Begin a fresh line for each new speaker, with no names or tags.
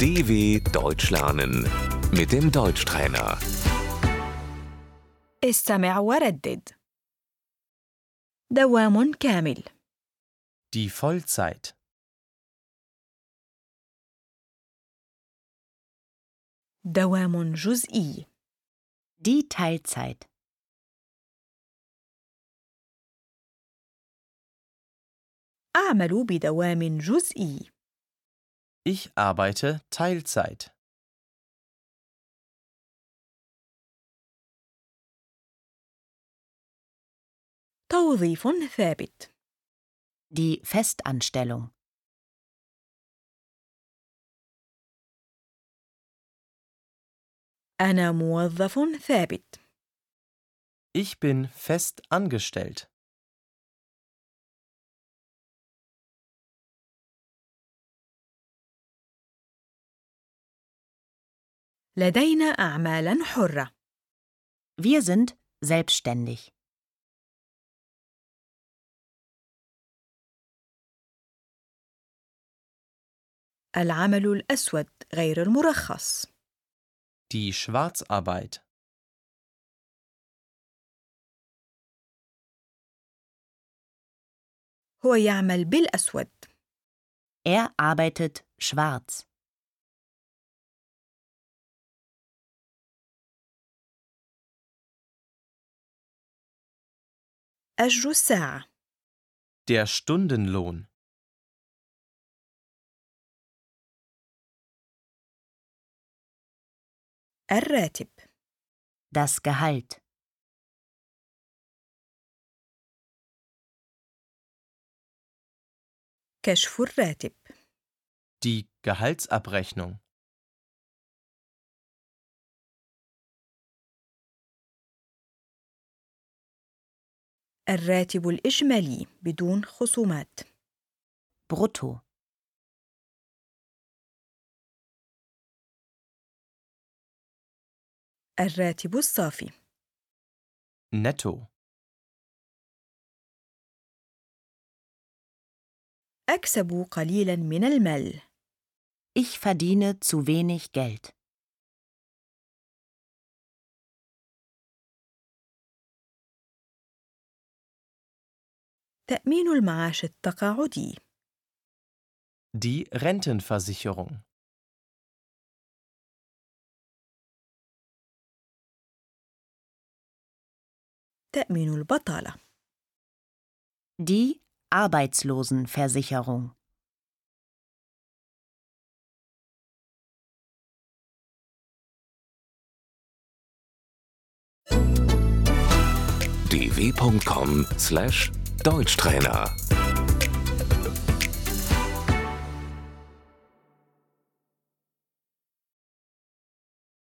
DW Deutsch lernen mit dem Deutschtrainer.
استمع وردد دوام كامل
Die Vollzeit.
دوام جزئي
Die Teilzeit.
أعمل بدوام جزئي
Ich arbeite Teilzeit.
توظيف ثابت
Die Festanstellung.
أنا موظف ثابت
Ich bin fest angestellt.
لدينا أعمالا حرة
Wir sind selbstständig.
العمل الأسود غير المرخص
Die Schwarzarbeit.
هو يعمل بالأسود
Er arbeitet schwarz.
أجر الساعة
Der Stundenlohn.
الراتب
Das Gehalt.
كشف الراتب
Die Gehaltsabrechnung.
الراتب الإجمالي بدون خصومات
Brutto.
الراتب الصافي
Netto.
أكسب قليلا من المال
Ich verdiene zu wenig Geld.
تأمين المعاش التقاعدي
Die Rentenversicherung.
تأمين البطالة
Die Arbeitslosenversicherung.
dw.com/deutschtrainer